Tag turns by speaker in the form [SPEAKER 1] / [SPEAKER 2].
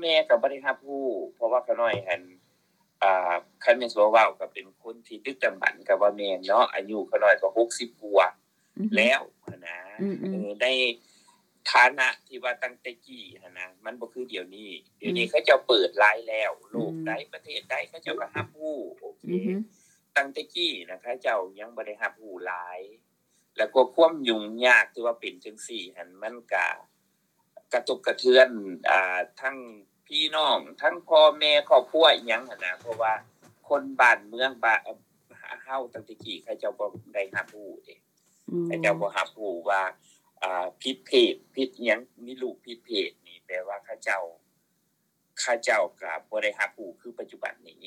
[SPEAKER 1] แม่กับบริหารผู้ เพราะว่าเขาน้อยหันอ่าคันเป็นสัวเว่ากับเป็นคนที่ดึกดำบรรพ์กับว่าแม่เนาะอายุเขาน้อยกว่าหกสิบกว่า
[SPEAKER 2] อืม
[SPEAKER 1] แล้วนะ
[SPEAKER 2] อืมอืม
[SPEAKER 1] เออได้ฐานะที่ว่าตั้งแต่กี้นะนะมันบ่คือเดี๋ยวนี้ เดี๋ยวนี้
[SPEAKER 2] อืม
[SPEAKER 1] เขาเจะเปิดไลน์แล้วโลก
[SPEAKER 2] อืม
[SPEAKER 1] ใดประเทศใดเขาเจะก็ฮับผู้โอเค
[SPEAKER 2] อือฮึ
[SPEAKER 1] ตั้งแต่กี้นะเขาเจ้ายังบ่ได้ฮับผู้หลาย แล้วก็ความยุ่งยากที่ว่าเป็นจังซี่หันมันก็กระทบกระเทือนอ่าทั้งพี่น้อง ทั้งพ่อแม่ครอบครัวอิหยังหันนะเพราะว่าคนบ้านเมืองบ้านเฮาตั้งแต่กี้เขาเจ้าบ่ได้ฮับผู้เด้
[SPEAKER 2] อืม
[SPEAKER 1] แต่เจ้าบ่ฮับรู้ว่าอ่าพิษเพศพิษหยังมีลูกพิษเพศนี่แปลว่าข้าเจ้าข้าเจ้ากับบ่ได้ฮับรู้คือปัจจุบันนี้